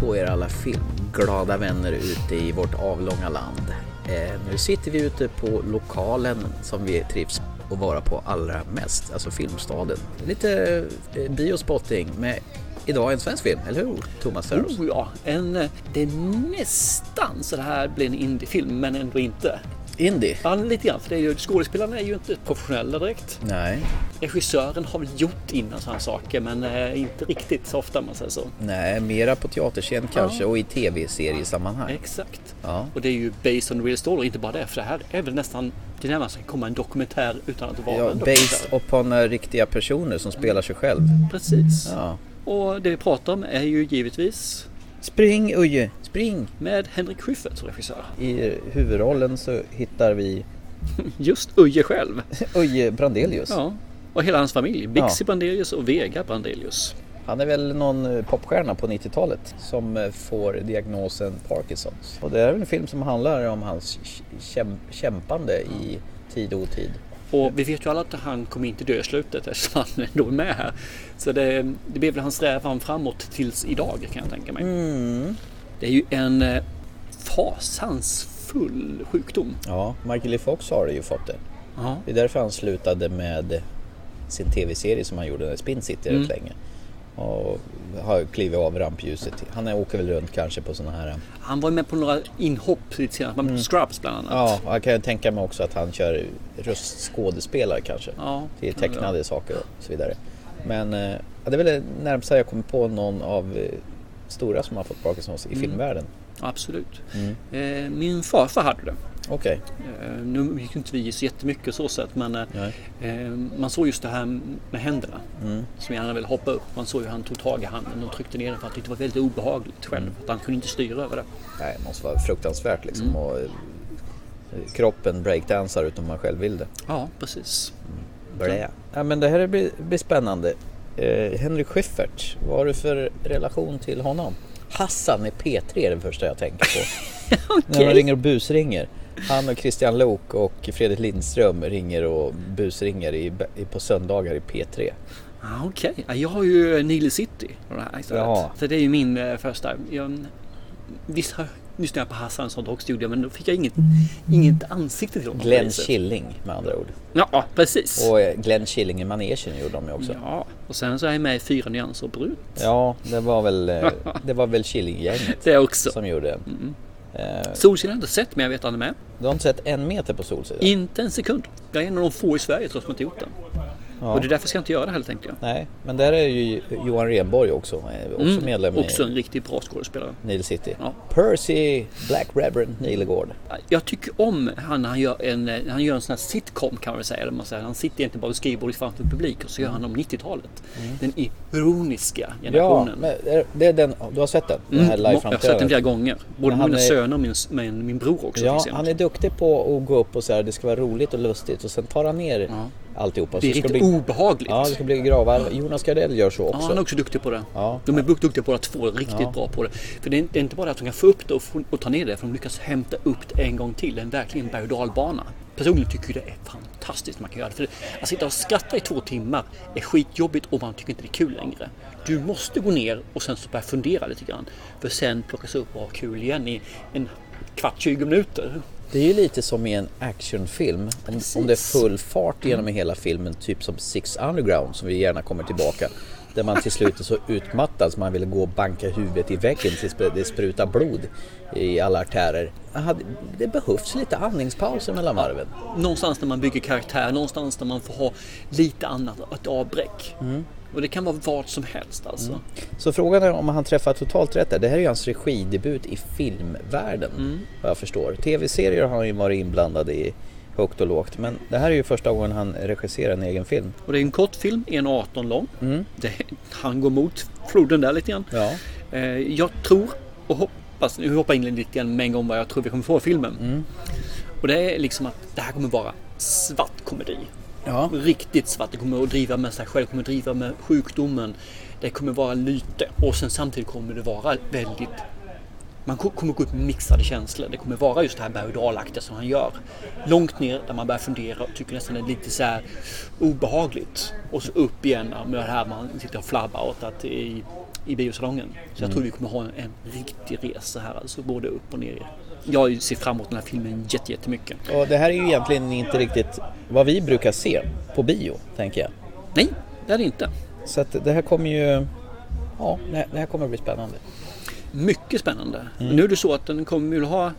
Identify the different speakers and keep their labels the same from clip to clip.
Speaker 1: på er alla filmglada vänner ute i vårt avlånga land. Eh, nu sitter vi ute på lokalen som vi trivs att vara på allra mest, alltså Filmstaden. Lite eh, biospotting med idag en svensk film, eller hur Thomas Ferros?
Speaker 2: Oh ja, en, eh, det är nästan så det här blir en indiefilm, men ändå inte.
Speaker 1: Indie?
Speaker 2: Ja, lite grann, för det är ju, skådespelarna är ju inte professionella direkt.
Speaker 1: Nej,
Speaker 2: Regissören har väl gjort innan sådana saker, men eh, inte riktigt så ofta om man säger så.
Speaker 1: nej, mera på teaterscen kanske och i tv-seriesammanhang.
Speaker 2: Exakt.
Speaker 1: Ja.
Speaker 2: Och det är ju based on real story, inte bara det, för det här är väl nästan, det närmaste kan komma en dokumentär utan att vara
Speaker 1: Ja,
Speaker 2: en
Speaker 1: based
Speaker 2: dokumentär.
Speaker 1: upon eh, riktiga personer som spelar sig själv.
Speaker 2: Precis.
Speaker 1: Ja.
Speaker 2: Och det vi pratar om är ju givetvis
Speaker 1: Spring Uje, spring!
Speaker 2: med Henrik Schyffert som regissör.
Speaker 1: I huvudrollen så hittar vi
Speaker 2: Just Uje själv.
Speaker 1: Uje Brandelius.
Speaker 2: Ja. Och hela hans familj. Bixi
Speaker 1: Ja.
Speaker 2: Brandelius och Vega Brandelius.
Speaker 1: Han är väl någon eh, popstjärna på 90-talet som eh, får diagnosen Parkinsons. Och det är väl en film som handlar om hans k- käm- kämpande i tid och otid.
Speaker 2: Och vi vet ju alla att han kommer inte dö i slutet eftersom han ändå är med här. Så det, det blir väl hans strävan framåt tills idag kan jag tänka
Speaker 1: Mm.
Speaker 2: mig. Det är ju en eh, fasansfull sjukdom.
Speaker 1: Ja, Michael E. Fox har ju fått det.
Speaker 2: Ja.
Speaker 1: Det är därför han slutade med sin tv-serie som han gjorde, Spin City, rätt länge. Och har klivit av rampljuset. Han åker väl runt kanske på sådana här...
Speaker 2: Han var ju med på några inhopp lite senare, mm. Scrubs bland annat.
Speaker 1: Ja, jag kan ju tänka mig också att han kör röstskådespelare kanske.
Speaker 2: Ja,
Speaker 1: till
Speaker 2: kan det
Speaker 1: tecknade saker och så vidare. Men eh, ja, det är väl det närmsta jag kommer på någon av eh, stora som har fått Parkinsons i filmvärlden.
Speaker 2: Absolut. Eh, Min farfar hade det.
Speaker 1: Okej,
Speaker 2: Eh, Nu gick ju inte vi så jättemycket så sett men eh, eh, man såg just det här med händerna
Speaker 1: Mm.
Speaker 2: som gärna ville hoppa upp. Man såg hur han tog tag i handen och tryckte ner den för att det var väldigt obehagligt själv. Att han kunde inte styra över det.
Speaker 1: Nej, det måste vara fruktansvärt liksom. Och, eh, kroppen breakdansar utom man själv vill det.
Speaker 2: Ja, precis.
Speaker 1: Blä. Mm. Ja, men det här blir, blir spännande. Eh, Henrik Schyffert, vad har du för relation till honom? Hassan i P3 är den första jag tänker på. När de ringer och busringer. Han och Christian Lok och Fredrik Lindström ringer och busringer i, i, på söndagar i P3.
Speaker 2: Ah, Okej, Ja, jag har ju Nile City. och det här istället.
Speaker 1: Ja.
Speaker 2: Så det är ju min eh, första. Jag, visst har- lyssnade jag på Hassan som dockstudio men då fick jag inget, inget ansikte till honom. på det
Speaker 1: Glenn
Speaker 2: viset.
Speaker 1: Killing med andra ord.
Speaker 2: Ja, precis.
Speaker 1: Och eh, Glenn Killing i manegen gjorde de ju också.
Speaker 2: Ja, och sen så är jag med i Fyra nyanser brunt.
Speaker 1: Ja, det var väl, eh, det var väl Killing-gänget
Speaker 2: Det är också.
Speaker 1: som gjorde den. Eh,
Speaker 2: Solsidan har jag inte sett men jag vet att han är med.
Speaker 1: Du har inte sett en meter på Solsidan?
Speaker 2: Inte en sekund. Jag är en av de få i Sverige tror jag som inte gjort den. Och det är därför ska jag inte göra det heller tänkte jag.
Speaker 1: Nej, men där är ju Johan Renborg också, eh, också medlem
Speaker 2: Mm, Också en
Speaker 1: i
Speaker 2: riktigt bra skådespelare.
Speaker 1: Neil City.
Speaker 2: Ja.
Speaker 1: Percy Black Reverend Nilegård.
Speaker 2: Jag tycker om han när han gör en, eh, han gör en sån här sitcom kan man väl säga. Eller man säger, han sitter egentligen bara vid skrivbordet framför publik och så gör han om 90-talet. Den ironiska
Speaker 1: Mm. Ja,
Speaker 2: generationen.
Speaker 1: men är- det är den, du har sett den? Den här
Speaker 2: Mm, jag har sett den
Speaker 1: liveframträdandet?
Speaker 2: flera gånger. Både
Speaker 1: Men
Speaker 2: med
Speaker 1: han
Speaker 2: mina
Speaker 1: är-
Speaker 2: söner och min, med min bror också.
Speaker 1: Ja,
Speaker 2: till exempel.
Speaker 1: han är duktig på att gå upp och säga det ska vara roligt och lustigt och sen tar han ner alltihopa.
Speaker 2: det är
Speaker 1: Så ska
Speaker 2: riktigt
Speaker 1: bli,
Speaker 2: obehagligt.
Speaker 1: Ja, det ska bli gravar. Jonas Gardell gör så
Speaker 2: Ja,
Speaker 1: också.
Speaker 2: han är också duktig på det.
Speaker 1: Ja.
Speaker 2: De är duktiga båda två, riktigt bra på det. För det är, det är inte bara att de kan få upp det och, få, och ta ner det, för de lyckas hämta upp det en gång till. Det är verkligen en berg och dalbana. Personligen tycker jag det är fantastiskt att man kan göra det. För det- att sitta och skratta i två timmar är skitjobbigt och man tycker inte det är kul längre. Du måste gå ner och sen så börja fundera lite grann. För sen plockas upp och ha kul igen i en kvart, 20 minuter.
Speaker 1: Det är ju lite som i en actionfilm. Om, om det är full fart genom hela filmen, typ som Six Underground som vi gärna kommer tillbaka. Där man till slut är så utmattad så man vill gå och banka huvudet i väggen tills det sprutar blod i alla artärer. Aha, det- Det behövs lite andningspauser mellan varven.
Speaker 2: Någonstans där man bygger karaktär, någonstans där man får ha lite annat, ett avbräck.
Speaker 1: Mm.
Speaker 2: Och det kan vara vad som helst alltså.
Speaker 1: Så frågan är om han träffar totalt rätt där. Det här är ju hans regidebut i filmvärlden vad jag förstår. Tv-serier har han ju varit inblandad i högt och lågt men det här är ju första gången han regisserar en egen film.
Speaker 2: Och det är en kortfilm, 1.18 lång. Det, han går mot floden där lite grann.
Speaker 1: Ja.
Speaker 2: Eh, jag tror och hoppas, nu hoppar jag in lite grann med en gång vad jag tror vi kommer få i filmen. Och det är liksom att det här kommer vara svart komedi.
Speaker 1: Ja.
Speaker 2: Riktigt svart. Det kommer att driva med sig själv, kommer att driva med sjukdomen. Det kommer vara lyte och sen samtidigt kommer det vara väldigt man ko- kommer gå ut med mixade känslor. Det kommer vara just det här berg och dalaktiga som han gör. Långt ner där man börjar fundera och tycker nästan det är lite så här obehagligt. Och så upp igen med det här man sitter och flabbar åt att i i biosalongen. Så jag tror vi kommer ha en, en riktig resa här, alltså både upp och ner. Jag ser fram emot den här filmen jätte- jättemycket.
Speaker 1: Och det här är ju egentligen inte riktigt vad vi brukar se på bio, tänker jag.
Speaker 2: Nej, det är det inte.
Speaker 1: Så att det här kommer ju... Ja, det det här kommer bli spännande.
Speaker 2: Mycket spännande. Nu är det så att den kommer att ha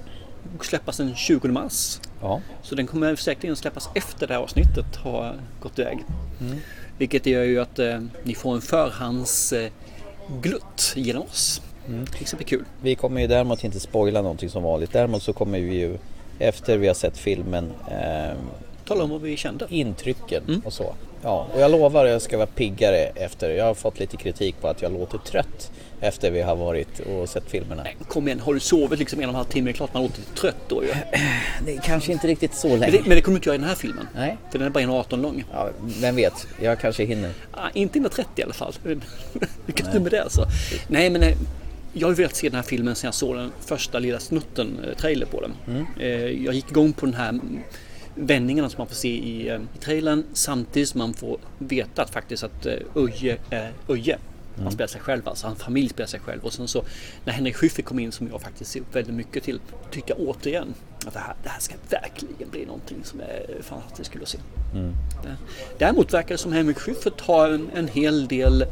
Speaker 2: släppas den 20 mars.
Speaker 1: Ja.
Speaker 2: Så den kommer säkerligen släppas efter det här avsnittet har gått iväg. Vilket gör ju att eh, ni får en förhandsglutt eh, glutt genom oss. Det ska bli kul.
Speaker 1: Vi kommer ju däremot inte spoila någonting som vanligt. Däremot så kommer vi ju efter vi har sett filmen eh,
Speaker 2: Tala om vad vi kände.
Speaker 1: intrycken och så. Ja, och jag lovar att jag ska vara piggare efter. Jag har fått lite kritik på att jag låter trött efter vi har varit och sett filmerna.
Speaker 2: Kom igen, har du sovit liksom en och en halv timme? Det är klart man låter lite trött då ju.
Speaker 1: Det är kanske inte riktigt så
Speaker 2: Men
Speaker 1: länge.
Speaker 2: det, men det kommer du inte göra i den här filmen.
Speaker 1: Nej.
Speaker 2: För den är bara 1,18 lång.
Speaker 1: Ja, vem vet, jag kanske hinner.
Speaker 2: Ah, inte 130 i alla fall. Lycka till med det alltså. Nej men eh, jag har ju velat se den här filmen sedan jag såg den första lilla snutten, eh, trailer på den. Eh, jag gick igång på den här mm, vändningarna som man får se i, eh, i trailern samtidigt som man får veta att faktiskt att eh, Öje är Öje. Han spelar sig själv, alltså hans familj spelar sig själv. Och sen så när Henrik Schyffert kom in som jag faktiskt ser upp väldigt mycket till. Tyckte jag återigen att det här, det här ska verkligen bli någonting som är fantastiskt kul att se.
Speaker 1: Mm.
Speaker 2: Däremot verkar det som Henrik Schyffert har en, en hel del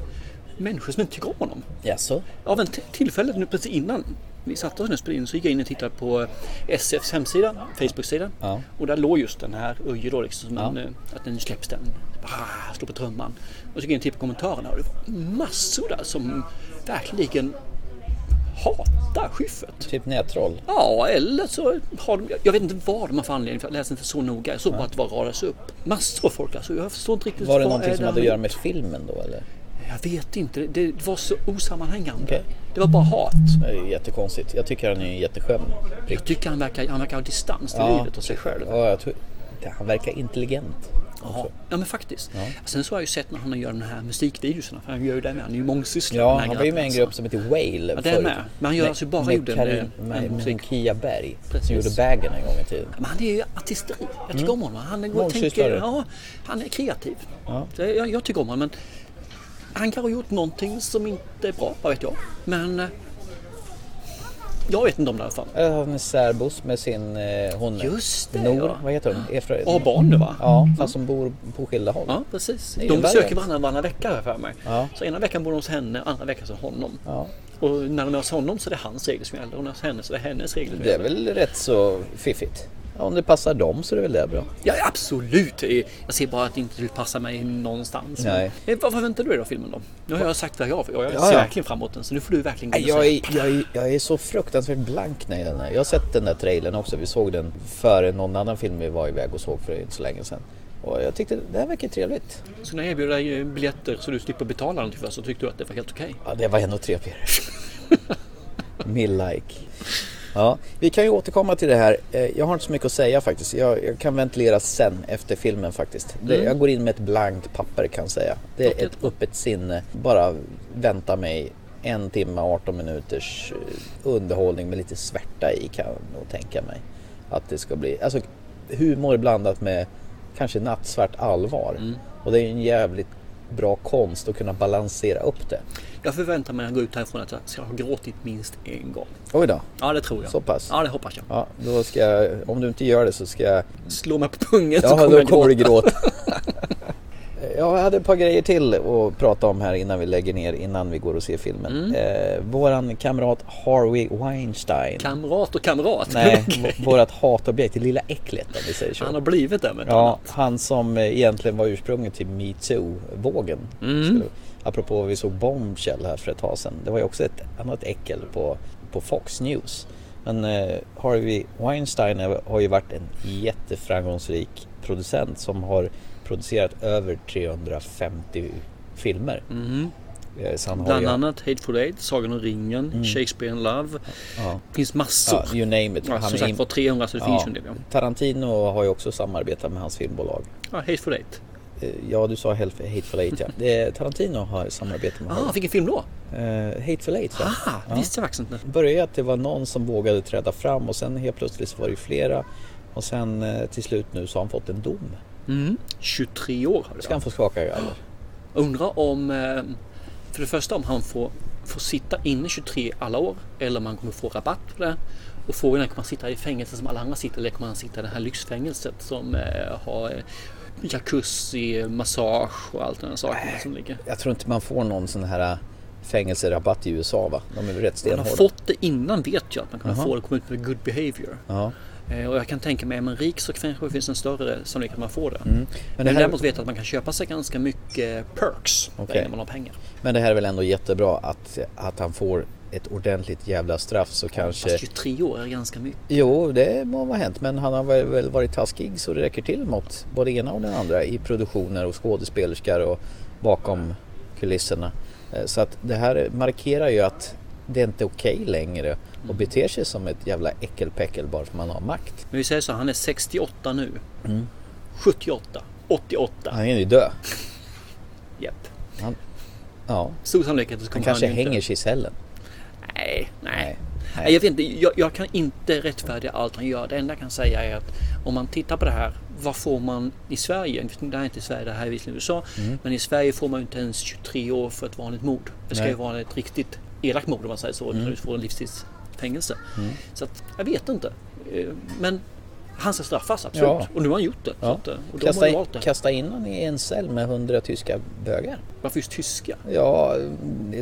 Speaker 2: människor som inte tycker om honom.
Speaker 1: Jaså?
Speaker 2: Av en t- tillfälle nu precis innan vi satte oss nu och spelade in så gick jag in och tittade på SFs hemsida, Facebook-sida.
Speaker 1: Ja.
Speaker 2: Och där låg just den här Öje då liksom, som en, eh, att den släpps den. Ah, slår på trumman. Och så gick jag in och tittade på kommentarerna och det var massor där som verkligen hatar Schyffert.
Speaker 1: Typ nättroll?
Speaker 2: Ja, eller så har de, jag vet inte vad de har för anledning, för jag läste inte så noga. Jag såg bara att det var radas upp. Massor av folk alltså. Jag förstår inte riktigt.
Speaker 1: Var det
Speaker 2: vad
Speaker 1: någonting
Speaker 2: är
Speaker 1: som
Speaker 2: han
Speaker 1: hade att göra
Speaker 2: gjort?
Speaker 1: med filmen då eller?
Speaker 2: Jag vet inte. Det, det var så osammanhängande.
Speaker 1: Okej.
Speaker 2: Det var bara hat.
Speaker 1: Det är ju jättekonstigt. Jag tycker han är en jätteskön prick.
Speaker 2: Jag tycker han verkar, han verkar ha distans till livet och sig själv.
Speaker 1: Ja, jag tror... Han verkar intelligent.
Speaker 2: Ja, ja men faktiskt. Sen så har jag ju sett när han gör de här musikvideorna. För han gör ju det med. Han är ju mångsysslare.
Speaker 1: Ja,
Speaker 2: den här
Speaker 1: han var ju med i en
Speaker 2: grabben,
Speaker 1: grupp som heter Whale
Speaker 2: det är
Speaker 1: förut.
Speaker 2: med. Men han gör alltså bara
Speaker 1: med
Speaker 2: gjorde en-
Speaker 1: Karin-
Speaker 2: en
Speaker 1: med,
Speaker 2: musik.
Speaker 1: med Kia Berg som
Speaker 2: Precis.
Speaker 1: gjorde Bagen en gång i tiden.
Speaker 2: Men han är ju artisteri. Jag tycker om honom. Han, går och tänker,
Speaker 1: Mm. Mångsysslare.
Speaker 2: ja, han är kreativ. Så Jag, jag tycker om honom. Men han kan ha gjort någonting som inte är bra, vad vet jag. Men eh, jag vet inte om det i alla fall.
Speaker 1: Eller han är särbos med sin eh, hon
Speaker 2: Just det,
Speaker 1: Nor,
Speaker 2: ja.
Speaker 1: vad heter hon? Efra...
Speaker 2: Och har barn nu va?
Speaker 1: Ja, fast som bor på skilda håll.
Speaker 2: Ja, precis.
Speaker 1: är ju
Speaker 2: De
Speaker 1: en
Speaker 2: besöker
Speaker 1: variant.
Speaker 2: varandra varannan vecka har jag för mig.
Speaker 1: Ja.
Speaker 2: Så ena veckan bor de hos henne, andra veckan hos honom.
Speaker 1: Ja.
Speaker 2: Och när de är hos honom så är det hans regler som gäller och när de är hos henne så är det hennes regler som
Speaker 1: Det är
Speaker 2: gäller.
Speaker 1: väl rätt så fiffigt. Ja, om det passar dem så är det väl det bra.
Speaker 2: Ja, absolut. Jag ser bara att det inte passar mig någonstans.
Speaker 1: Nej.
Speaker 2: Men, eh, vad förväntar du dig av filmen då? Nu har jag sagt vad jag Jag ser
Speaker 1: Ja, ja.
Speaker 2: verkligen fram emot den så nu får du verkligen gå in och
Speaker 1: Jag
Speaker 2: säga.
Speaker 1: är, jag, är, jag är så fruktansvärt blank när jag den här. Jag har sett den där trailern också. Vi såg den före någon annan film vi var iväg och såg för inte så länge sedan. Och jag tyckte det här verkar trevligt.
Speaker 2: Så när jag erbjöd dig eh, biljetter så du slipper betala dem tyvärr så tyckte du att det var helt okej.
Speaker 1: Ja, det var ändå tre PR. Mill like. Ja, vi kan ju återkomma till det här. Eh, Jag har inte så mycket att säga faktiskt. Jag, jag kan ventilera sen efter filmen faktiskt. Det, Jag går in med ett blankt papper kan jag säga. Det är ett öppet sinne. Bara vänta mig en timme 18 minuters eh, underhållning med lite svärta i kan jag nog tänka mig. Att det ska bli, alltså humor blandat med kanske nattsvart allvar. Och det är ju en jävligt bra konst att kunna balansera upp det.
Speaker 2: Jag förväntar mig när jag går ut härifrån att jag ska ha gråtit minst en gång.
Speaker 1: Oj då.
Speaker 2: Ja, det tror jag.
Speaker 1: Så pass?
Speaker 2: Ja, det hoppas jag.
Speaker 1: Ja, då ska jag, om du inte gör det så ska jag...
Speaker 2: Slå mig på pungen så
Speaker 1: Ja,
Speaker 2: kommer
Speaker 1: då
Speaker 2: jag
Speaker 1: kommer
Speaker 2: gråta.
Speaker 1: du gråta. Jag hade ett par grejer till att prata om här innan vi lägger ner, innan vi går och ser filmen.
Speaker 2: Mm.
Speaker 1: Eh, våran kamrat Harvey Weinstein.
Speaker 2: Kamrat och kamrat.
Speaker 1: Nej, vårt hatobjekt, det lilla äcklet om vi säger så.
Speaker 2: Han har blivit det men
Speaker 1: Ja, han som eh, egentligen var ursprunget till metoo-vågen. Mm. Apropå vad vi såg Bombshell här för ett tag sedan. Det var ju också ett annat äckel på, på Fox News. Men eh, Harvey Weinstein är- har ju varit en jätteframgångsrik producent som har producerat över 350 filmer. Eh, så han har
Speaker 2: Mhm. Bland
Speaker 1: ju,
Speaker 2: annat Hateful Eight, Sagan om ringen, Shakespeare in Love.
Speaker 1: Ja.
Speaker 2: Det finns massor.
Speaker 1: Ja, you name it.
Speaker 2: Ja,
Speaker 1: Han
Speaker 2: som
Speaker 1: är
Speaker 2: sagt
Speaker 1: in-
Speaker 2: var 300 så det finns ju en del. ja.
Speaker 1: Tarantino har ju också samarbetat med hans filmbolag.
Speaker 2: Ja, Hateful Eight.
Speaker 1: Eh, Ja, du sa Hateful Eight ja. Det är- Tarantino har samarbete med
Speaker 2: Ah,
Speaker 1: honom.
Speaker 2: han fick en film då?
Speaker 1: Uh, Hateful Eight va?
Speaker 2: Ah, visste jag faktiskt inte.
Speaker 1: Det började ju att det var någon som vågade träda fram och sen helt plötsligt så var det ju flera. Och sen eh, till slut nu så har han fått en dom.
Speaker 2: Mm. 23 år har det
Speaker 1: Ska han
Speaker 2: varit.
Speaker 1: få skaka i galler?
Speaker 2: Undrar om... eh, För det första om han får får sitta inne 23 alla år eller man kommer få rabatt på det. Och frågan är, kommer man sitta i fängelse som alla andra sitter eller kommer man sitta i det här lyxfängelset som eh, har eh, jacuzzi, massage och allt de här sakerna som ligger.
Speaker 1: Jag tror inte man får någon sån här eh, fängelserabatt i USA va? De är väl rätt
Speaker 2: Man har
Speaker 1: stenhårda.
Speaker 2: fått det innan vet jag att man kommer
Speaker 1: Jaha.
Speaker 2: få det och komma ut med good behavior.
Speaker 1: Ja. Mm.
Speaker 2: Eh, och jag kan tänka mig, är man rik så kanske det finns en större sannolikhet att man får det.
Speaker 1: Mm.
Speaker 2: Men,
Speaker 1: Men, det här,
Speaker 2: däremot vet jag att man kan köpa sig ganska mycket perks
Speaker 1: Okej.
Speaker 2: när man har pengar.
Speaker 1: men det här är väl ändå jättebra att, att han får ett ordentligt jävla straff så kanske...
Speaker 2: Fast 23 år är ganska mycket.
Speaker 1: Jo, det må ha hänt men han har väl väl varit taskig så det räcker till mot både ena och den andra i produktioner och skådespelerskar och bakom kulisserna. Eh, Så att det här markerar ju att det är inte okej längre
Speaker 2: Mm.
Speaker 1: och beter sig som ett jävla äckelpäckel bara för man har makt.
Speaker 2: Men vi säger så, han är 68 nu.
Speaker 1: Mm.
Speaker 2: 78, 88.
Speaker 1: Han är ju död.
Speaker 2: Japp.
Speaker 1: Ja,
Speaker 2: Stor sannolikhet så
Speaker 1: han
Speaker 2: kommer
Speaker 1: kanske
Speaker 2: ju inte-
Speaker 1: hänger sig i cellen.
Speaker 2: Nej, nej.
Speaker 1: Nej.
Speaker 2: nej. Jag, vet inte, jag, jag kan inte rättfärdiga allt han gör. Det enda jag kan säga är att om man tittar på det här, vad får man i Sverige? Det här är inte i Sverige, det här är visserligen i USA.
Speaker 1: Mm.
Speaker 2: Men i Sverige får man ju inte ens 23 år för ett vanligt mord. Det ska
Speaker 1: Nej.
Speaker 2: ju vara ett riktigt elakt mord om man säger så. Mm. Du får en livstidsfängelse.
Speaker 1: Mm.
Speaker 2: Så att, jag vet inte. Eh, Men han ska straffas, absolut.
Speaker 1: Ja.
Speaker 2: Och nu har han gjort det. Så
Speaker 1: Ja.
Speaker 2: att, eh, och de har
Speaker 1: Kasta
Speaker 2: ju
Speaker 1: in,
Speaker 2: valt det.
Speaker 1: kasta in honom i en cell med hundra tyska bögar.
Speaker 2: Varför just tyska?
Speaker 1: Ja,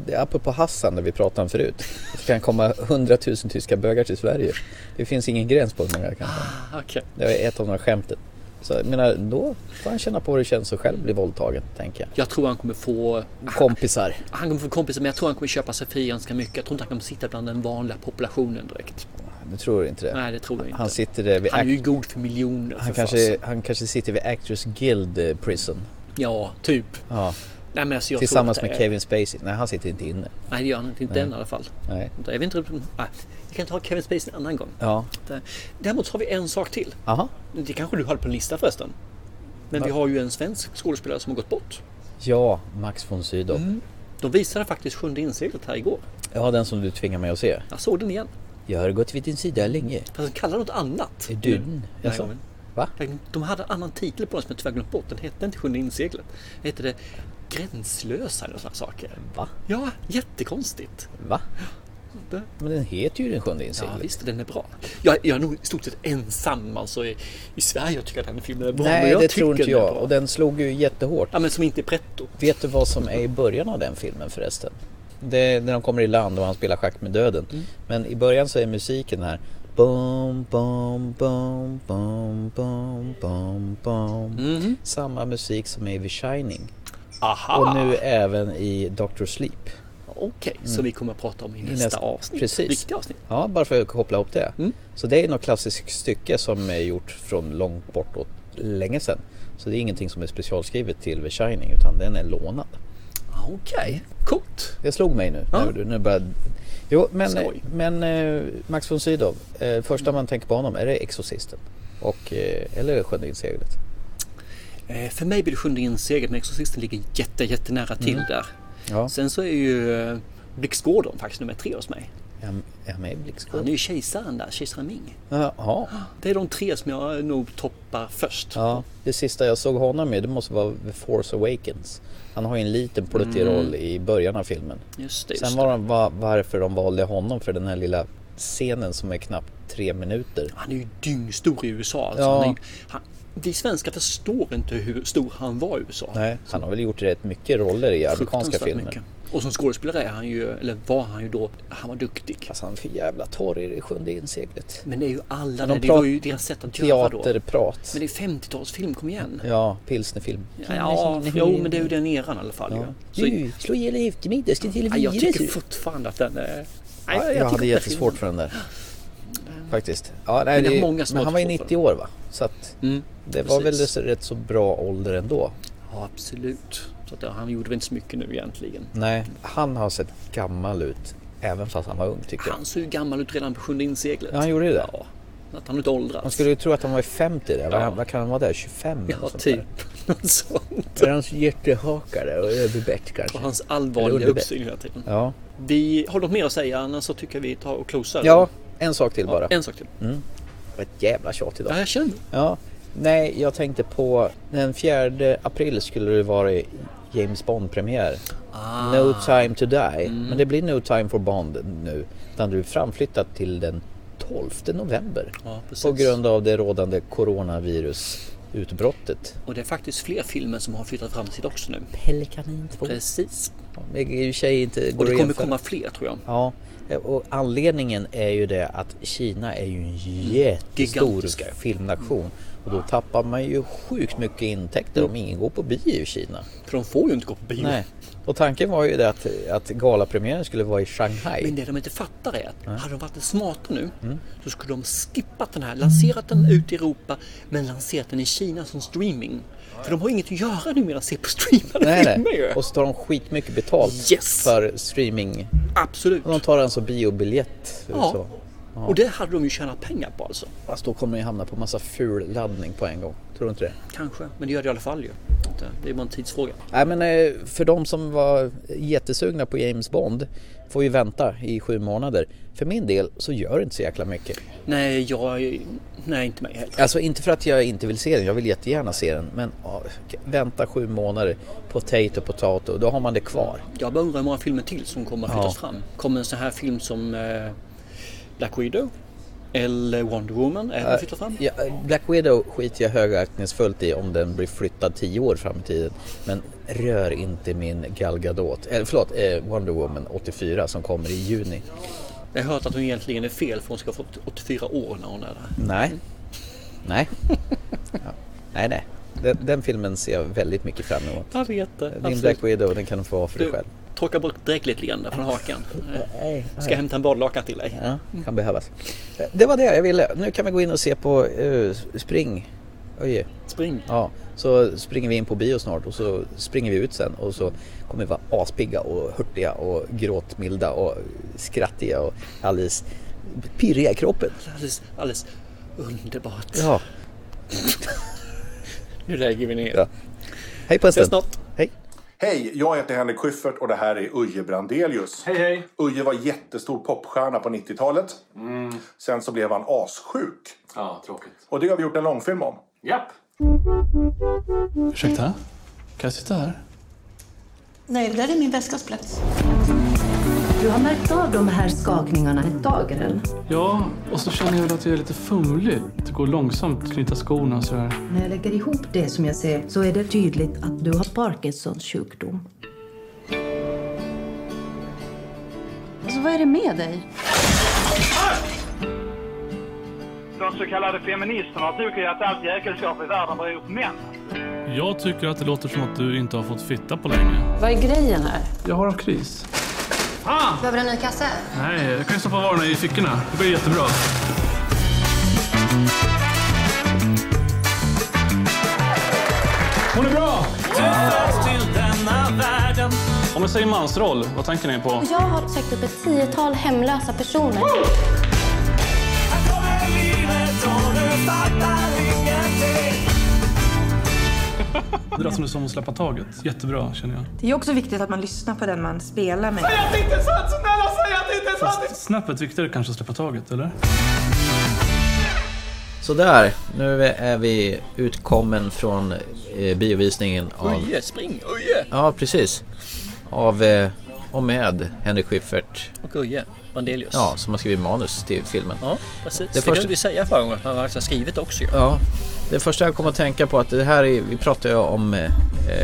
Speaker 1: det är apropå Hassan, där vi pratade om förut. Det kan komma hundratusen tyska bögar till Sverige. Det finns ingen gräns på hur många det kan vara.
Speaker 2: Ah, okej.
Speaker 1: Det är ett av de här skämten. Så jag menar, då får han känna på hur det känns att själv bli våldtagen, tänker
Speaker 2: Jag tror han kommer få
Speaker 1: jag. Kompisar.
Speaker 2: Han kommer få kompisar men jag tror han kommer köpa sig fri ganska mycket. Jag tror inte han kommer sitta bland den vanliga populationen direkt.
Speaker 1: Du tror inte det?
Speaker 2: Nej det tror jag inte.
Speaker 1: Han sitter där vid...
Speaker 2: han är
Speaker 1: act-
Speaker 2: ju god för miljoner.
Speaker 1: Han
Speaker 2: för
Speaker 1: kanske,
Speaker 2: fasen.
Speaker 1: han kanske sitter vid Actors Guild eh, Prison.
Speaker 2: Ja, typ.
Speaker 1: Ja,
Speaker 2: Nej, men alltså, jag
Speaker 1: tillsammans
Speaker 2: tror att
Speaker 1: med
Speaker 2: det
Speaker 1: Kevin
Speaker 2: är-
Speaker 1: Spacey. Nej, han sitter inte inne.
Speaker 2: Nej det gör han inte. Inte än i alla fall.
Speaker 1: Nej.
Speaker 2: Jag vet inte. Nej, vi kan ta Kevin Spacey en annan gång.
Speaker 1: Ja.
Speaker 2: Däremot så har vi en sak till.
Speaker 1: Aha.
Speaker 2: Det kanske du hade på en lista förresten. Men vi har ju en svensk skådespelare som har gått bort.
Speaker 1: Ja, Max von Sydow.
Speaker 2: Mm. De visade faktiskt Sjunde inseglet här igår.
Speaker 1: Ja, den som du tvingar mig att se.
Speaker 2: Jag såg den igen.
Speaker 1: Jag har gått vid din sida länge.
Speaker 2: Fast de kallar den något annat.
Speaker 1: Är du den?
Speaker 2: Den här
Speaker 1: Jaså?
Speaker 2: gången.
Speaker 1: Va?
Speaker 2: De hade en annan titel på den som jag tyvärr glömt bort. Den hette inte Sjunde inseglet. Den hette det Gränslösa eller sådana saker.
Speaker 1: Va?
Speaker 2: Ja, jättekonstigt.
Speaker 1: Va?
Speaker 2: Det-
Speaker 1: Men den heter ju Den sjunde
Speaker 2: Ja,
Speaker 1: inseglet.
Speaker 2: visst, den är bra. Jag, jag är nog i stort sett ensam alltså, i, i Sverige och tycker att den här filmen är bra. men
Speaker 1: Nej,
Speaker 2: jag
Speaker 1: det
Speaker 2: tycker
Speaker 1: tror inte
Speaker 2: den är
Speaker 1: jag.
Speaker 2: bra.
Speaker 1: Och den slog ju jättehårt.
Speaker 2: Ja, men som inte är pretto.
Speaker 1: Vet du vad som är i början av den filmen förresten? Det är när de kommer i land och han spelar schack med döden.
Speaker 2: Mm.
Speaker 1: Men i början så är musiken här. Bom, bom, bom, bom, bom, bom, bom.
Speaker 2: Mhm.
Speaker 1: Samma musik som är vid Shining.
Speaker 2: Aha!
Speaker 1: Mm. Och nu även i Dr. Sleep.
Speaker 2: Okej, så vi kommer att prata om i nästa,
Speaker 1: nästa-
Speaker 2: avsnitt.
Speaker 1: precis.
Speaker 2: Riktiga avsnitt.
Speaker 1: Ja, bara för att koppla ihop det.
Speaker 2: Mm.
Speaker 1: Så det är något klassiskt stycke som är gjort från långt bortåt länge sedan. Så det är ingenting som är specialskrivet till The Shining utan den är lånad.
Speaker 2: Ah, Okej, coolt.
Speaker 1: Det slog mig nu.
Speaker 2: Ja.
Speaker 1: när du- Nu började... Jo, men,
Speaker 2: Skoj.
Speaker 1: men eh, Max von Sydow, eh, första man tänker på honom är det Exorcisten. Och, eh, eller Sjunde inseglet.
Speaker 2: Eh, för mig blir det Sjunde inseglet, men Exorcisten ligger jätte, jättenära till
Speaker 1: Mm.
Speaker 2: där.
Speaker 1: Ja,
Speaker 2: Sen så är ju eh, Blix Gordon faktiskt nummer tre hos mig.
Speaker 1: är han- är han med i
Speaker 2: Han
Speaker 1: Blixtskål?
Speaker 2: är ju kejsaren där, kejsaren Ming.
Speaker 1: Jaha.
Speaker 2: Det är de tre som jag nog toppar först.
Speaker 1: Ja, det sista jag såg honom i det måste vara The Force Awakens. Han har ju en liten plötslig
Speaker 2: Mm.
Speaker 1: roll i början av filmen.
Speaker 2: Just det, just
Speaker 1: Sen
Speaker 2: det.
Speaker 1: var de, va- varför de valde honom för den här lilla scenen som är knappt tre minuter.
Speaker 2: Han är ju dyngstor i USA. Alltså.
Speaker 1: Ja.
Speaker 2: Han är, ju- han, vi svenskar förstår inte hur stor han var i USA.
Speaker 1: Nej. Han har väl gjort rätt mycket roller i amerikanska
Speaker 2: Fruktansvärt
Speaker 1: filmer.
Speaker 2: mycket. Och som skådespelare är han ju, eller var han ju då, han var duktig.
Speaker 1: Alltså han är för jävla torr i det sjunde inseglet.
Speaker 2: Men det är ju alla,
Speaker 1: de
Speaker 2: det, det var
Speaker 1: prat-
Speaker 2: ju deras sätt att göra då. Men
Speaker 1: Teaterprat.
Speaker 2: det är 50-talsfilm, kom igen.
Speaker 1: Ja, pilsnerfilm.
Speaker 2: Ja, ja, jo men det är ju den eran i alla fall. ju. Så,
Speaker 1: Du, slå ihjäl giftmiddag, jag ska till
Speaker 2: ja, jag tycker
Speaker 1: virus.
Speaker 2: fortfarande att den eh, är... Nej,
Speaker 1: Ja, jag
Speaker 2: tycker
Speaker 1: hade
Speaker 2: den
Speaker 1: jättesvårt
Speaker 2: filmen-
Speaker 1: för den där.
Speaker 2: Mm.
Speaker 1: Faktiskt. Ja,
Speaker 2: Men
Speaker 1: nej,
Speaker 2: det är
Speaker 1: det,
Speaker 2: många som
Speaker 1: men
Speaker 2: har
Speaker 1: han var ju
Speaker 2: svårt för
Speaker 1: 90 år va? Så att
Speaker 2: Mm.
Speaker 1: det var väl
Speaker 2: Precis.
Speaker 1: rätt så bra ålder ändå.
Speaker 2: Ja, absolut. Så att, ja, han gjorde väl inte så mycket nu egentligen.
Speaker 1: Nej, han har sett gammal ut även fast han var ung tycker jag.
Speaker 2: Han såg ju gammal ut redan på sjunde inseglet.
Speaker 1: Ja, han gjorde det.
Speaker 2: Ja, att han inte åldrats.
Speaker 1: Man skulle ju tro att han var i 50 där.
Speaker 2: Ja.
Speaker 1: Vad- Vad kan han vara där? 25?
Speaker 2: Ja,
Speaker 1: och sånt
Speaker 2: typ.
Speaker 1: där.
Speaker 2: Något sånt.
Speaker 1: För hans jättehaka där och överbett kanske.
Speaker 2: Och hans
Speaker 1: Eller
Speaker 2: allvarliga
Speaker 1: underbett.
Speaker 2: uppsyn hela tiden.
Speaker 1: Ja.
Speaker 2: Vi har du något mer att säga annars så tycker jag vi tar och closar.
Speaker 1: ja, en sak till bara. Mm.
Speaker 2: En sak till.
Speaker 1: Ett jävla tjat idag.
Speaker 2: Ja, jag känner.
Speaker 1: Ja, nej jag tänkte på den 4 april skulle det vara James Bond-premiär
Speaker 2: Ah.
Speaker 1: No time to die.
Speaker 2: Mm.
Speaker 1: Men det blir No time for Bond nu. Utan du är framflyttat till den 12 november.
Speaker 2: Ja, precis.
Speaker 1: På grund av det rådande coronavirusutbrottet.
Speaker 2: Och det är faktiskt fler filmer som har flyttat fram till också
Speaker 1: Oh.
Speaker 2: nu.
Speaker 1: Pelikanin 2.
Speaker 2: Precis.
Speaker 1: Det är i och för sig inte går
Speaker 2: Och det
Speaker 1: att
Speaker 2: kommer
Speaker 1: jämföra.
Speaker 2: komma fler tror jag.
Speaker 1: Ja, Eh, och anledningen är ju det att Kina är ju en
Speaker 2: Mm. Gigantiska. Mm.
Speaker 1: jättestor filmnation. Och då tappar man ju sjukt mycket intäkter
Speaker 2: Mm.
Speaker 1: om ingen går på bio i Kina.
Speaker 2: För de får ju inte gå på bio.
Speaker 1: Nej. Och tanken var ju det att, att galapremiären skulle vara i
Speaker 2: Men
Speaker 1: Shanghai.
Speaker 2: det de inte fattar är att hade de varit smarta nu
Speaker 1: Mm.
Speaker 2: så skulle de skippat den här, lanserat den ut i Europa men lanserat den i Kina som streaming. För de har inget att göra nu medan de ser på streamade
Speaker 1: Nej,
Speaker 2: filmer ju.
Speaker 1: nej. Och så tar de skitmycket betalt
Speaker 2: Yes!
Speaker 1: för streaming.
Speaker 2: Absolut.
Speaker 1: Och de tar alltså biobiljett.
Speaker 2: Ja.
Speaker 1: Så.
Speaker 2: Och det hade de ju tjänat pengar på alltså.
Speaker 1: Fast då kommer de ju hamna på massa ful laddning på en gång. Tror du inte det?
Speaker 2: Kanske, men det gör det i alla fall ju. Inte- Det är bara en tidsfråga.
Speaker 1: Nej men eh, för de som var jättesugna på James Bond får ju vänta i sju månader. För min del så gör det inte så jäkla mycket.
Speaker 2: Nej, jag... Nej, inte mig heller.
Speaker 1: Alltså inte för att jag inte vill se den, jag vill jättegärna se den. Men ja, vänta sju månader, potato potato, då har man det kvar.
Speaker 2: Jag bara undrar hur många filmer till som kommer att flyttas
Speaker 1: Ja.
Speaker 2: fram. Kommer en sån här film som eh, Black Widow? Eller Wonder Woman?
Speaker 1: Eh,
Speaker 2: Även flyttas fram?
Speaker 1: Ja, Black Widow skiter jag högaktningsfullt i om den blir flyttad tio år fram i tiden. Men rör inte min Gal Gadot, eller förlåt, eh, Wonder Woman 84 som kommer i juni.
Speaker 2: Jag har hört att hon egentligen är fel för hon ska ha fått 84 år när hon är där.
Speaker 1: Nej. Nej. Ja. Nej, nej. Den, den filmen ser jag väldigt mycket fram emot.
Speaker 2: Jag vet det.
Speaker 1: Din
Speaker 2: absolut.
Speaker 1: Black Widow, den kan du få ha för dig
Speaker 2: Du,
Speaker 1: själv.
Speaker 2: torka bort drägligt leende från hakan. Eh,
Speaker 1: Nej.
Speaker 2: Ska jag hämta en badlakan till dig?
Speaker 1: Ja, kan behövas. Det var det jag ville. Nu kan vi gå in och se på eh, Spring. Oj,
Speaker 2: Spring.
Speaker 1: ja. Så springer vi in på bio snart och så springer vi ut sen och så kommer vi vara aspigga och hurtiga och gråtmilda och skrattiga och alldeles pirriga i kroppen.
Speaker 2: Alldeles, alldeles underbart.
Speaker 1: Ja,
Speaker 2: Nu lägger vi ner.
Speaker 1: Ja. hej på en
Speaker 2: Ses
Speaker 1: stund.
Speaker 2: snart.
Speaker 1: Hej.
Speaker 3: Hej, jag heter Henrik Schyffert och det här är Uje Brandelius.
Speaker 4: Hej, hej.
Speaker 3: Uje var jättestor popstjärna på 90-talet.
Speaker 4: Mm.
Speaker 3: Sen så blev han assjuk.
Speaker 4: Ja, tråkigt.
Speaker 3: Och det har vi gjort en långfilm om.
Speaker 4: Japp.
Speaker 5: Ursäkta? Kan jag sitta här?
Speaker 6: Nej, det där är min väskas plats.
Speaker 7: Du har märkt av de här skakningarna ett tag, eller?
Speaker 5: Ja, och så känner jag väl att jag är lite fumlig. Det går långsamt, knyta skorna och sådär.
Speaker 7: När jag lägger ihop det som jag ser så är det tydligt att du har Parkinsons sjukdom.
Speaker 6: Alltså, vad är det med dig?
Speaker 8: De så kallade feministerna tycker ju att allt jäkelskap i världen beror på män.
Speaker 5: Jag tycker att det låter som att du inte har fått fitta på länge.
Speaker 6: Vad är grejen här?
Speaker 5: Jag har en kris.
Speaker 6: Behöver du en ny kasse?
Speaker 5: Nej, jag kan ju stoppa varorna i fickorna. Det blir jättebra. Hon är bra! Om jag säger mansroll, vad tänker ni på?
Speaker 9: Jag har sökt upp ett tiotal hemlösa personer.
Speaker 5: Det lät som du som att släppa taget. Jättebra, känner jag.
Speaker 10: Det är också viktigt att man lyssnar på den man spelar med.
Speaker 5: Snäppet viktigare kanske att släppa taget, eller?
Speaker 1: Sådär, nu är vi utkommen från eh, biovisningen av...
Speaker 2: Uje, spring. Uje!
Speaker 1: Ja, precis. Av eh, och med Henrik Schyffert,
Speaker 2: Och Uje Brandelius.
Speaker 1: ja, som har skrivit manus till filmen.
Speaker 2: Ja, precis.
Speaker 1: Det
Speaker 2: Det,
Speaker 1: första-
Speaker 2: glömde vi säga förra gången. Han har faktiskt skrivit också ju.
Speaker 1: Ja, det första jag kom att tänka på att det här är, vi pratade ju om eh,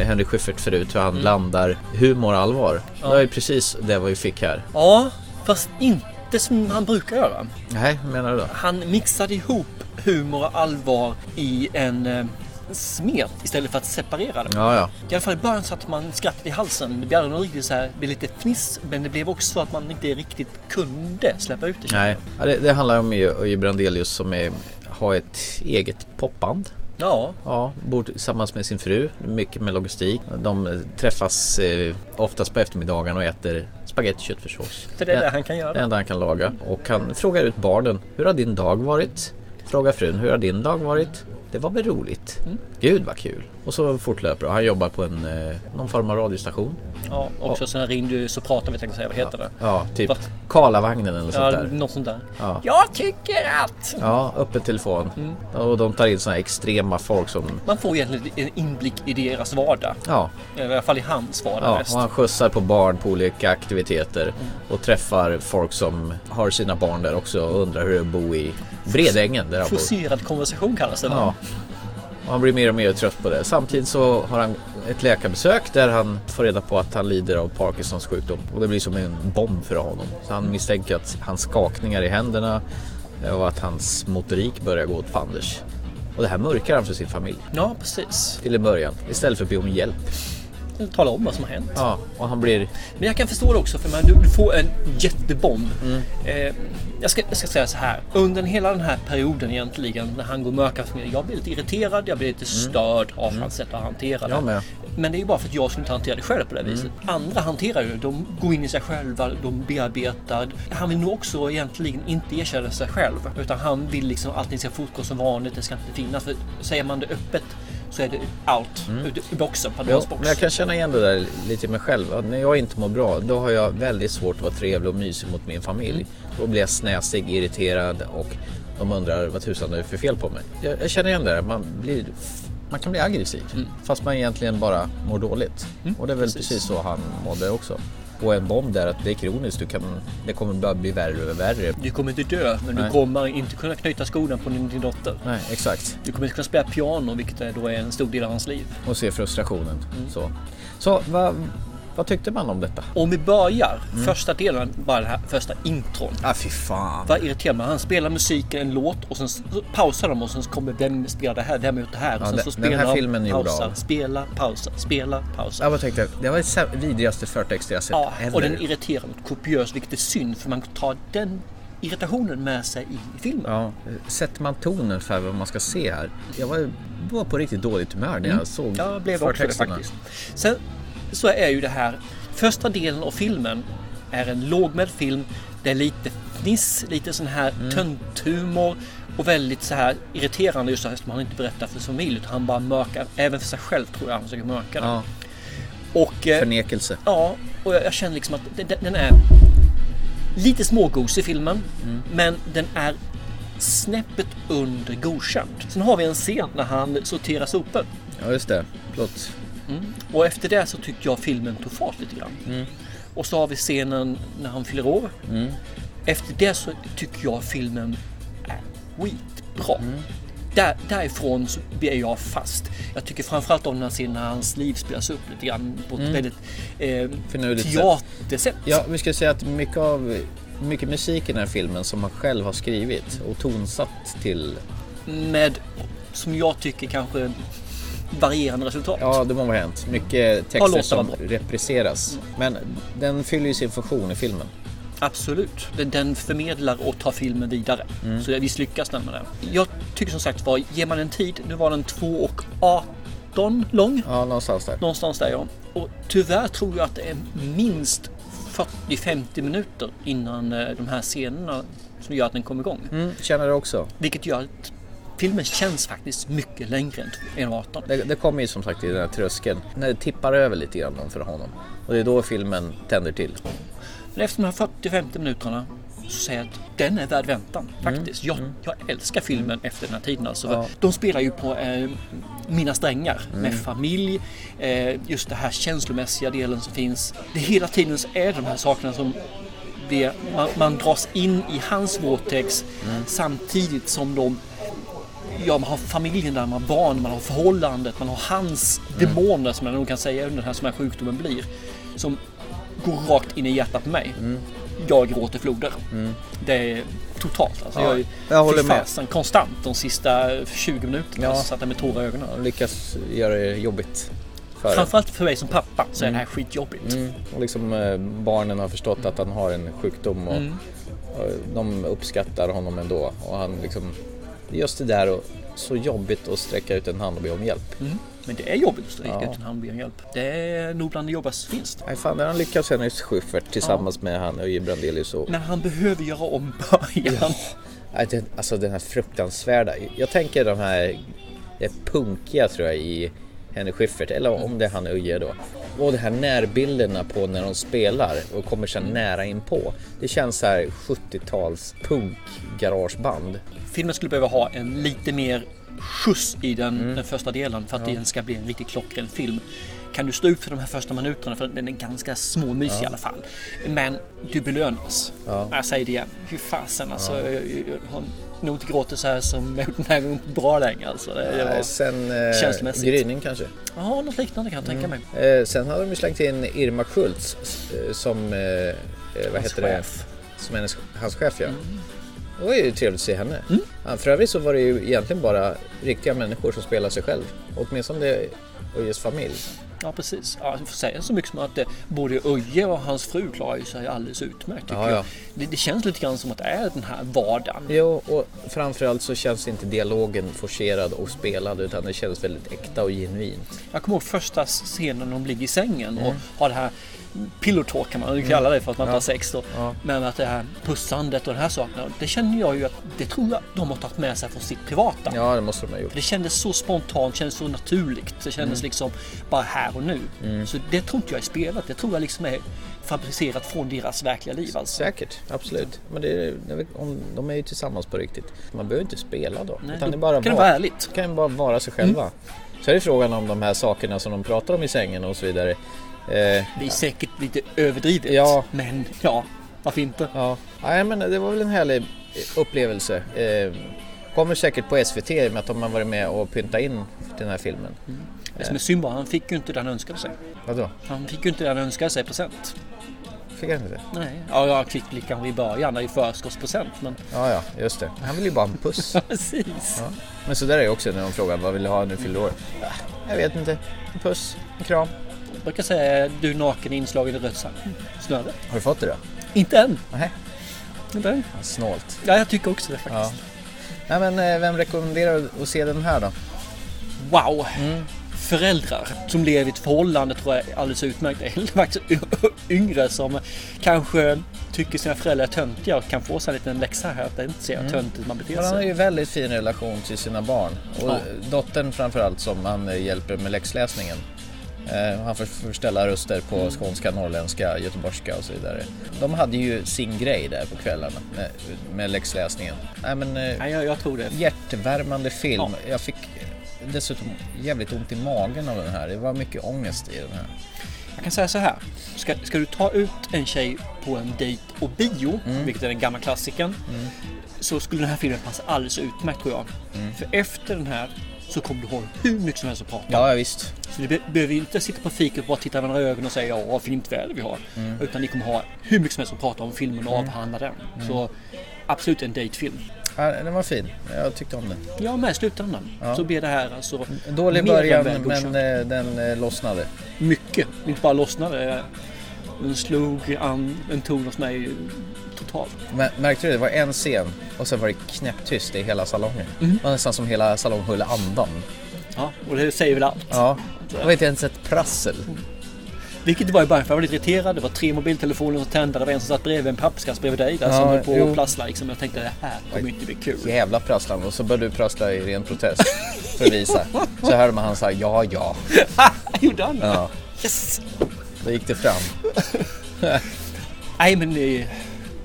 Speaker 1: Henrik Schyffert förut, hur han blandar humor och allvar. Det var ju precis det vad vi fick här.
Speaker 2: Ja, fast inte som han brukar göra.
Speaker 1: Nej, menar du då?
Speaker 2: Han mixade ihop humor och allvar i en eh, smet istället för att separera dem.
Speaker 1: Ja, ja.
Speaker 2: I alla fall i början så att man skrattade i halsen. Det blev aldrig någon riktigt så här, det blev lite fniss. Men det blev också att man inte riktigt kunde släppa ut det.
Speaker 1: Nej, ja, det, det handlar om ju Öje Brandelius som är, har ett eget popband.
Speaker 2: Ja,
Speaker 1: Ja, bor tillsammans med sin fru, mycket med logistik. De eh, träffas eh, oftast på eftermiddagen och äter spagetti och köttfärssås.
Speaker 2: för det är det han kan göra.
Speaker 1: Det enda han kan laga. Och han frågar ut barnen, hur har
Speaker 2: Mm.
Speaker 1: din dag varit? Frågar frun, hur har din dag varit? Det var väl roligt? Gud vad kul! Och så fortlöper det. Han jobbar på en, eh, någon form av radiostation.
Speaker 2: Ja, också sen ringde ju så pratar vi tänkte jag säga, vad heter det?
Speaker 1: Ja, typ
Speaker 2: Va?
Speaker 1: Karlavagnen eller sånt
Speaker 2: Ja,
Speaker 1: där.
Speaker 2: något sånt där.
Speaker 1: Ja.
Speaker 2: Jag tycker att...
Speaker 1: Ja, öppen telefon.
Speaker 2: Mm.
Speaker 1: Och de tar in såna här extrema folk som...
Speaker 2: Man får egentligen en inblick i deras vardag.
Speaker 1: Ja,
Speaker 2: I alla fall i hans vardag
Speaker 1: ja
Speaker 2: mest.
Speaker 1: och han skjutsar på barn på olika aktiviteter och träffar folk som har sina barn där också och undrar hur det är att bo i Bredängen där han bor.
Speaker 2: Forcerad konversation kallas det va?
Speaker 1: Ja. Och han blir mer och mer trött på det. Samtidigt så har han ett läkarbesök där han får reda på att han lider av Parkinsons sjukdom. Och det blir som en bomb för honom. Så han misstänker att hans skakningar i händerna eh, och att hans motorik börjar gå åt fanders. Och det här mörkar han för sin familj
Speaker 2: Ja, precis.
Speaker 1: till en början istället för att be om hjälp.
Speaker 2: Tala om vad som har hänt.
Speaker 1: Ja, och han blir...
Speaker 2: Men jag kan förstå det också för man, du, du får en jättebomb. Eh, jag, ska, jag ska säga så här. Under hela den här perioden egentligen när han går mörka för mig. Jag blir lite irriterad, jag blir lite störd av hans sätt att hantera
Speaker 1: Mm.
Speaker 2: det.
Speaker 1: Jag med. Mm.
Speaker 2: Men det är ju bara för att jag som inte hanterar det själv på det viset. Andra hanterar ju det. De går in i sig själva, de bearbetar. Han vill nog också egentligen inte erkänna sig själv. Utan han vill liksom att allting ska fortgå som vanligt. Det ska inte finnas. För säger man det öppet så är det out. Ut ur boxen,
Speaker 1: Mm. Ja,
Speaker 2: Pandoras box.
Speaker 1: men jag kan känna igen det där lite i mig själv. Att När jag inte mår bra, då har jag väldigt svårt att vara trevlig och mysig mot min familj. Då blir jag snäsig, irriterad och de undrar vad tusan det är för fel på mig. Jag, jag känner igen det där. Man, blir, man kan bli aggressiv fast man egentligen bara mår dåligt. Och det är väl Mm. precis. så han mådde också. Och en bomb där, att det är kroniskt. Du kan, det kommer bara bli värre och värre.
Speaker 2: Du kommer inte dö, men
Speaker 1: Nej.
Speaker 2: du kommer inte kunna knyta skorna på din, din dotter.
Speaker 1: Nej, exakt.
Speaker 2: Du kommer inte kunna spela piano, vilket är- då är en stor del av hans liv.
Speaker 1: Och se frustrationen. Så, så vad, vad tyckte man om detta?
Speaker 2: Om vi börjar
Speaker 1: Mm.
Speaker 2: första delen, bara det här första intron.
Speaker 1: Ah, fy fan.
Speaker 2: Vad irriterar man? Han spelar musiken, en låt och sen s- så pausar de och sen så kommer vem spelar det här, vem har gjort det här? Och
Speaker 1: Ja,
Speaker 2: sen
Speaker 1: den-
Speaker 2: så
Speaker 1: den här
Speaker 2: spelar de,
Speaker 1: filmen är gjord
Speaker 2: pausar,
Speaker 1: av-
Speaker 2: spela, pausa, spela, pausa.
Speaker 1: Jag bara tänkte, det var det sä- vidrigaste förtext jag sett
Speaker 2: Ja, och
Speaker 1: ever.
Speaker 2: den irriterar mig kopiöst, vilket är synd för man tar den irritationen med sig i filmen.
Speaker 1: ja, sätter man tonen för vad man ska se här? Jag var, var på riktigt dåligt humör när jag såg
Speaker 2: Mm. Jag blev också det
Speaker 1: förtexterna.
Speaker 2: faktiskt. Sen så är ju det här, första delen av filmen är en lågmäld film. Det är lite fniss, lite sån här tönthumor och väldigt så här irriterande just eftersom han inte berättar för sin familj utan han bara mörkar, även för sig själv tror jag han försöker mörka det.
Speaker 1: Ja,
Speaker 2: Och, eh,
Speaker 1: förnekelse.
Speaker 2: Ja, och jag, jag känner liksom att den, den- den är lite smågosig filmen, men den är snäppet under godkänd. Sen har vi en scen när han sorterar sopor.
Speaker 1: Ja, just det. Plott.
Speaker 2: Och efter det så tyckte jag filmen tog fart lite grann.
Speaker 1: Mm.
Speaker 2: Och så har vi scenen när han fyller år. Efter det så tycker jag filmen är skitbra.
Speaker 1: Mm.
Speaker 2: Där, därifrån så blir jag fast. Jag tycker framförallt om den här scenen när hans liv spelas upp lite grann på ett väldigt eh,
Speaker 1: Finurligt Mm. sätt.
Speaker 2: teatersätt.
Speaker 1: Ja, vi ska säga att mycket av mycket musik i den här filmen som han själv har skrivit och tonsatt till,
Speaker 2: Med, som jag tycker kanske, varierande resultat.
Speaker 1: ja det må vara hänt, mycket
Speaker 2: Ja, låtar
Speaker 1: texter
Speaker 2: var
Speaker 1: som
Speaker 2: bra.
Speaker 1: repriseras. Men den fyller ju sin funktion i filmen.
Speaker 2: Absolut. Den, den förmedlar och tar filmen vidare. Så jag visst lyckas den med den. Jag tycker som sagt var, ger man en tid, nu var den 2 och 18 lång.
Speaker 1: Ja, någonstans där.
Speaker 2: Någonstans där ja. Och tyvärr tror jag att det är minst 40-50 minuter innan eh, de här scenerna som gör att den kommer igång.
Speaker 1: Mm, känner det också.
Speaker 2: Vilket gör att filmen känns faktiskt mycket längre än 1.18.
Speaker 1: Det, det kommer ju som sagt i den här tröskeln. När det tippar över lite grann för honom. Och det är då filmen tänder till.
Speaker 2: Men efter de här 40-50 minuterna så säger jag att den är värd väntan faktiskt. Jag, jag älskar filmen efter den här tiden. Alltså.
Speaker 1: Ja.
Speaker 2: De spelar ju på eh, mina strängar med familj, eh, just den här känslomässiga delen som finns. Det hela tiden så är det de här sakerna som det, man, man dras in i hans vortex
Speaker 1: Mm.
Speaker 2: samtidigt som de Ja, man har familjen där, man har barn, man har förhållandet, man har hans
Speaker 1: Mm.
Speaker 2: demoner som jag nog kan säga under den här, som den här sjukdomen blir. Som går rakt in i hjärtat på mig.
Speaker 1: Mm.
Speaker 2: Jag gråter floder. Det är totalt. Alltså,
Speaker 1: Ja,
Speaker 2: jag är
Speaker 1: jag håller
Speaker 2: fy
Speaker 1: med.
Speaker 2: fasen konstant de sista 20 minuterna.
Speaker 1: Ja.
Speaker 2: Så satt jag med tårar i ögonen.
Speaker 1: Han lyckas göra det jobbigt. För en.
Speaker 2: Framförallt för mig som pappa så är det här skitjobbigt.
Speaker 1: Mm. Och liksom eh, barnen har förstått att han har en sjukdom och, och de uppskattar honom ändå. Och han liksom, just det där och så jobbigt att sträcka ut en hand och be om hjälp.
Speaker 2: Men det är jobbigt att stryka
Speaker 1: Ja.
Speaker 2: utan hand och hjälp. Det är nog bland det jobbigaste som finns.
Speaker 1: Nej fan, när han lyckas henne i Schyffert tillsammans med han Öje Brandelius och
Speaker 2: Men han behöver göra om början.
Speaker 1: Nej, den, alltså den här fruktansvärda. Jag tänker de här det punkiga tror jag i Henrik Schiffert, eller om det är han Uje då. Och de här närbilderna på när de spelar och kommer så här nära in på. Det känns så här 70-tals punk garageband.
Speaker 2: Filmen skulle behöva ha en lite mer skjuts i den, den första delen för att den ska bli en riktigt klockren film. Kan du stå ut för de här första minuterna för den är ganska småmysig i alla fall. Men du belönas. Jag säger det igen. Hur fasen alltså. Jag, jag, jag har nog inte gråtit så här som jag gjort den här gången på bra länge alltså. Det, det
Speaker 1: Eh,
Speaker 2: var,
Speaker 1: Sen eh,
Speaker 2: Känslomässigt.
Speaker 1: Gryning kanske.
Speaker 2: ja, något liknande kan jag tänka mig.
Speaker 1: Eh, sen hade de ju slängt in Irma Schultz eh, som, eh, eh, vad heter
Speaker 2: chef.
Speaker 1: det, som hennes, hans chef ja. Det var ju trevligt att se henne. Ja, för övrigt så var det ju egentligen bara riktiga människor som spelar sig själv. Åtminstone det och just familj.
Speaker 2: Ja precis. Ja, jag får säga så mycket som att eh, både Öje och hans fru klarar ju sig alldeles utmärkt. tycker
Speaker 1: Ja, ja.
Speaker 2: jag. Det, det känns lite grann som att det är den här vardagen.
Speaker 1: Jo, och framförallt så känns inte dialogen forcerad och spelad utan det känns väldigt äkta och genuint.
Speaker 2: Jag kommer ihåg första scenen när de ligger i sängen
Speaker 1: Mm.
Speaker 2: och har det här pillow talk kan man ju kalla det för att man inte har sex då. Men att det här pussandet och den här saken, det känner jag ju att det tror jag de har tagit med sig från sitt privata.
Speaker 1: Ja, det måste de ha gjort.
Speaker 2: För det kändes så spontant, kändes så naturligt. Det
Speaker 1: Mm.
Speaker 2: kändes liksom bara här och nu. Så det tror inte jag är spelat. Det tror jag liksom är fabricerat från deras verkliga liv. Alltså.
Speaker 1: Säkert, absolut. Men det är, om- de är ju tillsammans på riktigt. Man behöver inte spela då.
Speaker 2: Nej,
Speaker 1: utan
Speaker 2: då
Speaker 1: det bara
Speaker 2: kan det
Speaker 1: vara-
Speaker 2: vara ärligt.
Speaker 1: kan ju bara vara sig själva. Så är det frågan om de här sakerna som de pratar om i sängen och så vidare. Eh,
Speaker 2: Det är säkert lite överdrivet.
Speaker 1: Ja.
Speaker 2: Men ja, varför inte?
Speaker 1: ja, nej men det var väl en härlig upplevelse. Eh, kommer säkert på SVT i och med att de har varit med och pyntat in den här filmen.
Speaker 2: Det som är synd bara, han fick ju inte det han önskade sig.
Speaker 1: Vadå?
Speaker 2: Han fick ju inte det han önskade sig i present.
Speaker 1: Fick han inte?
Speaker 2: Nej. Ja, jag klickade kanske i början i förskottsprocent. Men
Speaker 1: Ja, ja, just det. Han vill ju bara ha en puss.
Speaker 2: precis.
Speaker 1: Ja. Men så där är det också när de frågar vad vill du ha när du fyller år? "Ah, Jag vet inte. En puss, en kram.
Speaker 2: Jag brukar säga du är naken inslagen i rött sand.
Speaker 1: Mm.
Speaker 2: Snöre.
Speaker 1: Har du fått det då?
Speaker 2: Inte än.
Speaker 1: Nej.
Speaker 2: Inte än.
Speaker 1: Snålt.
Speaker 2: Ja, jag tycker också det faktiskt.
Speaker 1: Ja. Nej men eh, vem rekommenderar att se den här då?
Speaker 2: Wow! Föräldrar som lever i ett förhållande tror jag är alldeles utmärkt. Eller faktiskt y- yngre som kanske tycker sina föräldrar är töntiga och kan få sig en liten läxa här att det inte ser mm. töntigt man beter
Speaker 1: Men han har
Speaker 2: sig.
Speaker 1: ju väldigt fin relation till sina barn. Och
Speaker 2: Ja.
Speaker 1: dottern framförallt som han eh, hjälper med läxläsningen. Eh, Han får förställa röster
Speaker 2: Mm.
Speaker 1: på skånska, norrländska, göteborgska och så vidare. De hade ju sin grej där på kvällarna med, med läxläsningen. Nej men eh,
Speaker 2: Nej, jag, jag tror det.
Speaker 1: hjärtvärmande film. Jag fick eh, dessutom jävligt ont i magen av den här. Det var mycket ångest i den här.
Speaker 2: Jag kan säga så här. Ska, ska du ta ut en tjej på en dejt och bio, vilket är den gamla klassikern, så skulle den här filmen passa alldeles utmärkt tror jag. För efter den här så kommer du ihåg hur mycket som helst att prata.
Speaker 1: Ja, ja visst.
Speaker 2: Så du be- behöver ju inte sitta på fiket och bara titta i varandra i ögonen och säga ja, vad fint väder vi har.
Speaker 1: Mm.
Speaker 2: Utan ni kommer ha hur mycket som helst att prata om filmen och avhandla den.
Speaker 1: Mm.
Speaker 2: Så absolut en dejtfilm.
Speaker 1: Ja, den var fin. Jag tyckte om den.
Speaker 2: Ja, med i slutändan så blir det här alltså
Speaker 1: Dålig
Speaker 2: mer än
Speaker 1: början
Speaker 2: välgodkänt.
Speaker 1: men eh, den eh, lossnade.
Speaker 2: mycket. Inte bara lossnade. Den slog an en ton hos mig totalt.
Speaker 1: Men, märkte du det? Det var en scen och sen var det knäpptyst i hela salongen.
Speaker 2: Mhm.
Speaker 1: Det var nästan som hela salongen höll andan.
Speaker 2: Ja, och det säger väl allt.
Speaker 1: Ja. Det var inte ens ett prassel.
Speaker 2: Vilket var i början, för jag var lite irriterad. Det var tre mobiltelefoner som tända. Det var en som satt bredvid en pappkasse bredvid dig där
Speaker 1: Ja,
Speaker 2: som höll på
Speaker 1: jo.
Speaker 2: att prassla. Liksom. Jag tänkte det här kommer ju inte bli kul.
Speaker 1: Jävla prasslan. Och så började du prassla i ren protest för att visa. Så hörde man han säga ja, ja.
Speaker 2: Gjorde han det?
Speaker 1: Ja.
Speaker 2: Yes!
Speaker 1: Då gick det fram.
Speaker 2: Nej men eh,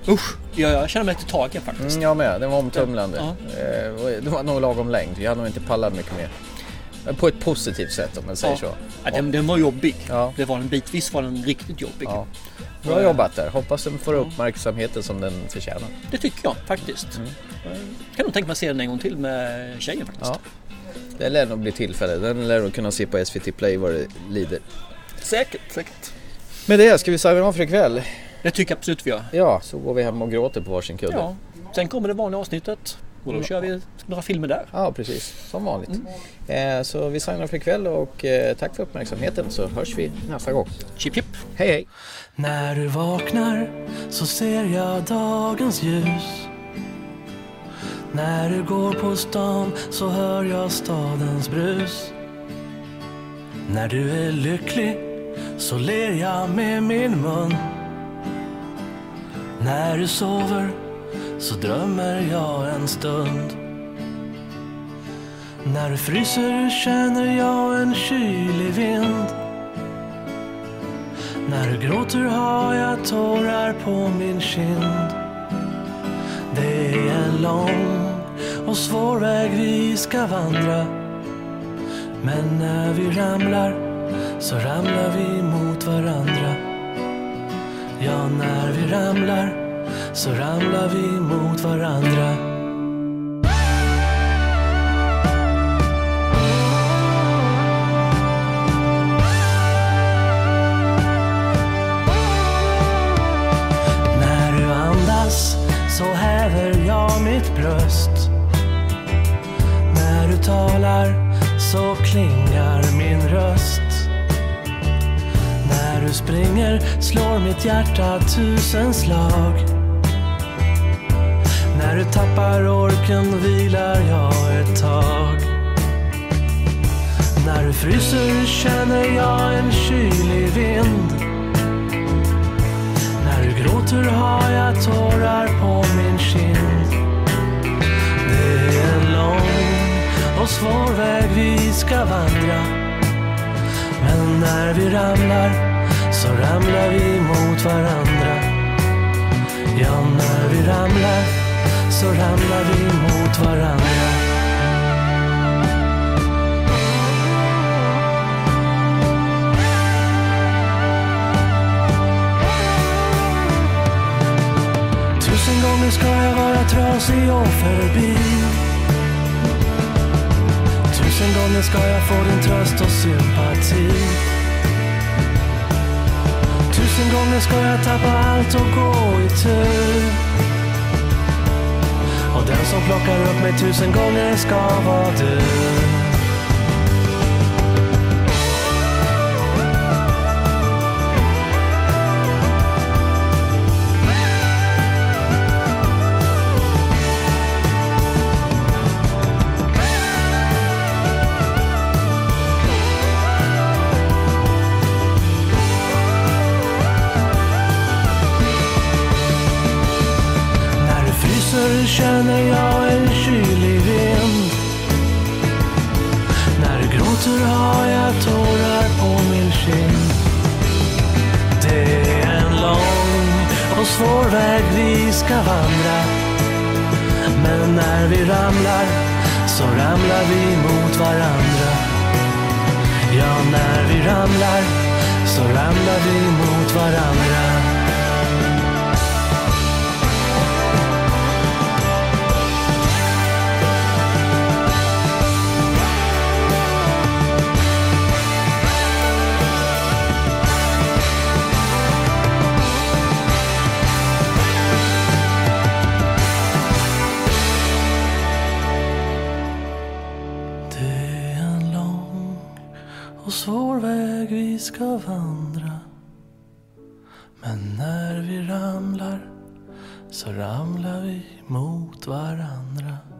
Speaker 2: usch, jag, jag känner mig lite tagen faktiskt.
Speaker 1: Mm, jag med. Den var omtumlande.
Speaker 2: Ja.
Speaker 1: Eh, och Det var nog lagom längd. Jag hade nog inte pallat mycket mer. På ett positivt sätt om man säger så.
Speaker 2: Ja, den, den var jobbig.
Speaker 1: Ja.
Speaker 2: Det var en bitvis var den riktigt jobbig.
Speaker 1: Ja. Bra jobbat där. Hoppas den får uppmärksamheten som den förtjänar.
Speaker 2: Det tycker jag faktiskt.
Speaker 1: Mm.
Speaker 2: Kan nog tänka mig att se den en gång till med tjejen faktiskt.
Speaker 1: Ja. Det lär nog bli tillfälle. Den lär nog kunna se på SVT Play vad det lider.
Speaker 2: Säkert, säkert.
Speaker 1: Med det ska vi signa av för ikväll.
Speaker 2: Det tycker jag absolut vi gör.
Speaker 1: Ja, så går vi hem och gråter på varsin kudde.
Speaker 2: Ja. Sen kommer det vanliga avsnittet och
Speaker 1: Mm.
Speaker 2: då kör vi några filmer där.
Speaker 1: Ja, precis. Som vanligt. Eh, så vi signar för ikväll och eh, tack för uppmärksamheten så hörs vi nästa gång.
Speaker 2: Chip chip!
Speaker 1: Hej hej!
Speaker 5: När du vaknar så ser jag dagens ljus. När du går på stan så hör jag stadens brus. När du är lycklig så ler jag med min mun. När du sover så drömmer jag en stund. När du fryser känner jag en kylig vind. När du gråter har jag tårar på min kind. Det är en lång och svår väg vi ska vandra. Men när vi ramlar så ramlar vi mot varandra. Ja, när vi ramlar så ramlar vi mot varandra. När du andas så häver jag mitt bröst. När du talar så klingar min röst. När du springer slår mitt hjärta tusen slag. När du tappar orken vilar jag ett tag. När du fryser känner jag en kylig vind. När du gråter har jag tårar på min kind. Det är en lång och svår väg vi ska vandra. Men när vi ramlar så ramlar vi mot varandra. Ja, när vi ramlar så ramlar vi mot varandra. Tusen gånger ska jag vara trasig och förbi Tusen gånger ska jag få din tröst och sympati Tusen gånger ska jag tappa allt och gå i tur Och den som plockar upp mig tusen gånger ska vara du När du fryser känner jag en kylig vind. När du gråter har jag tårar på min kind. Det är en lång och svår väg vi ska vandra. Men när vi ramlar så ramlar vi mot varandra. Ja, när vi ramlar så ramlar vi mot varandra. Det är en lång och svår väg vi ska vandra. Men när vi ramlar så ramlar vi mot varandra.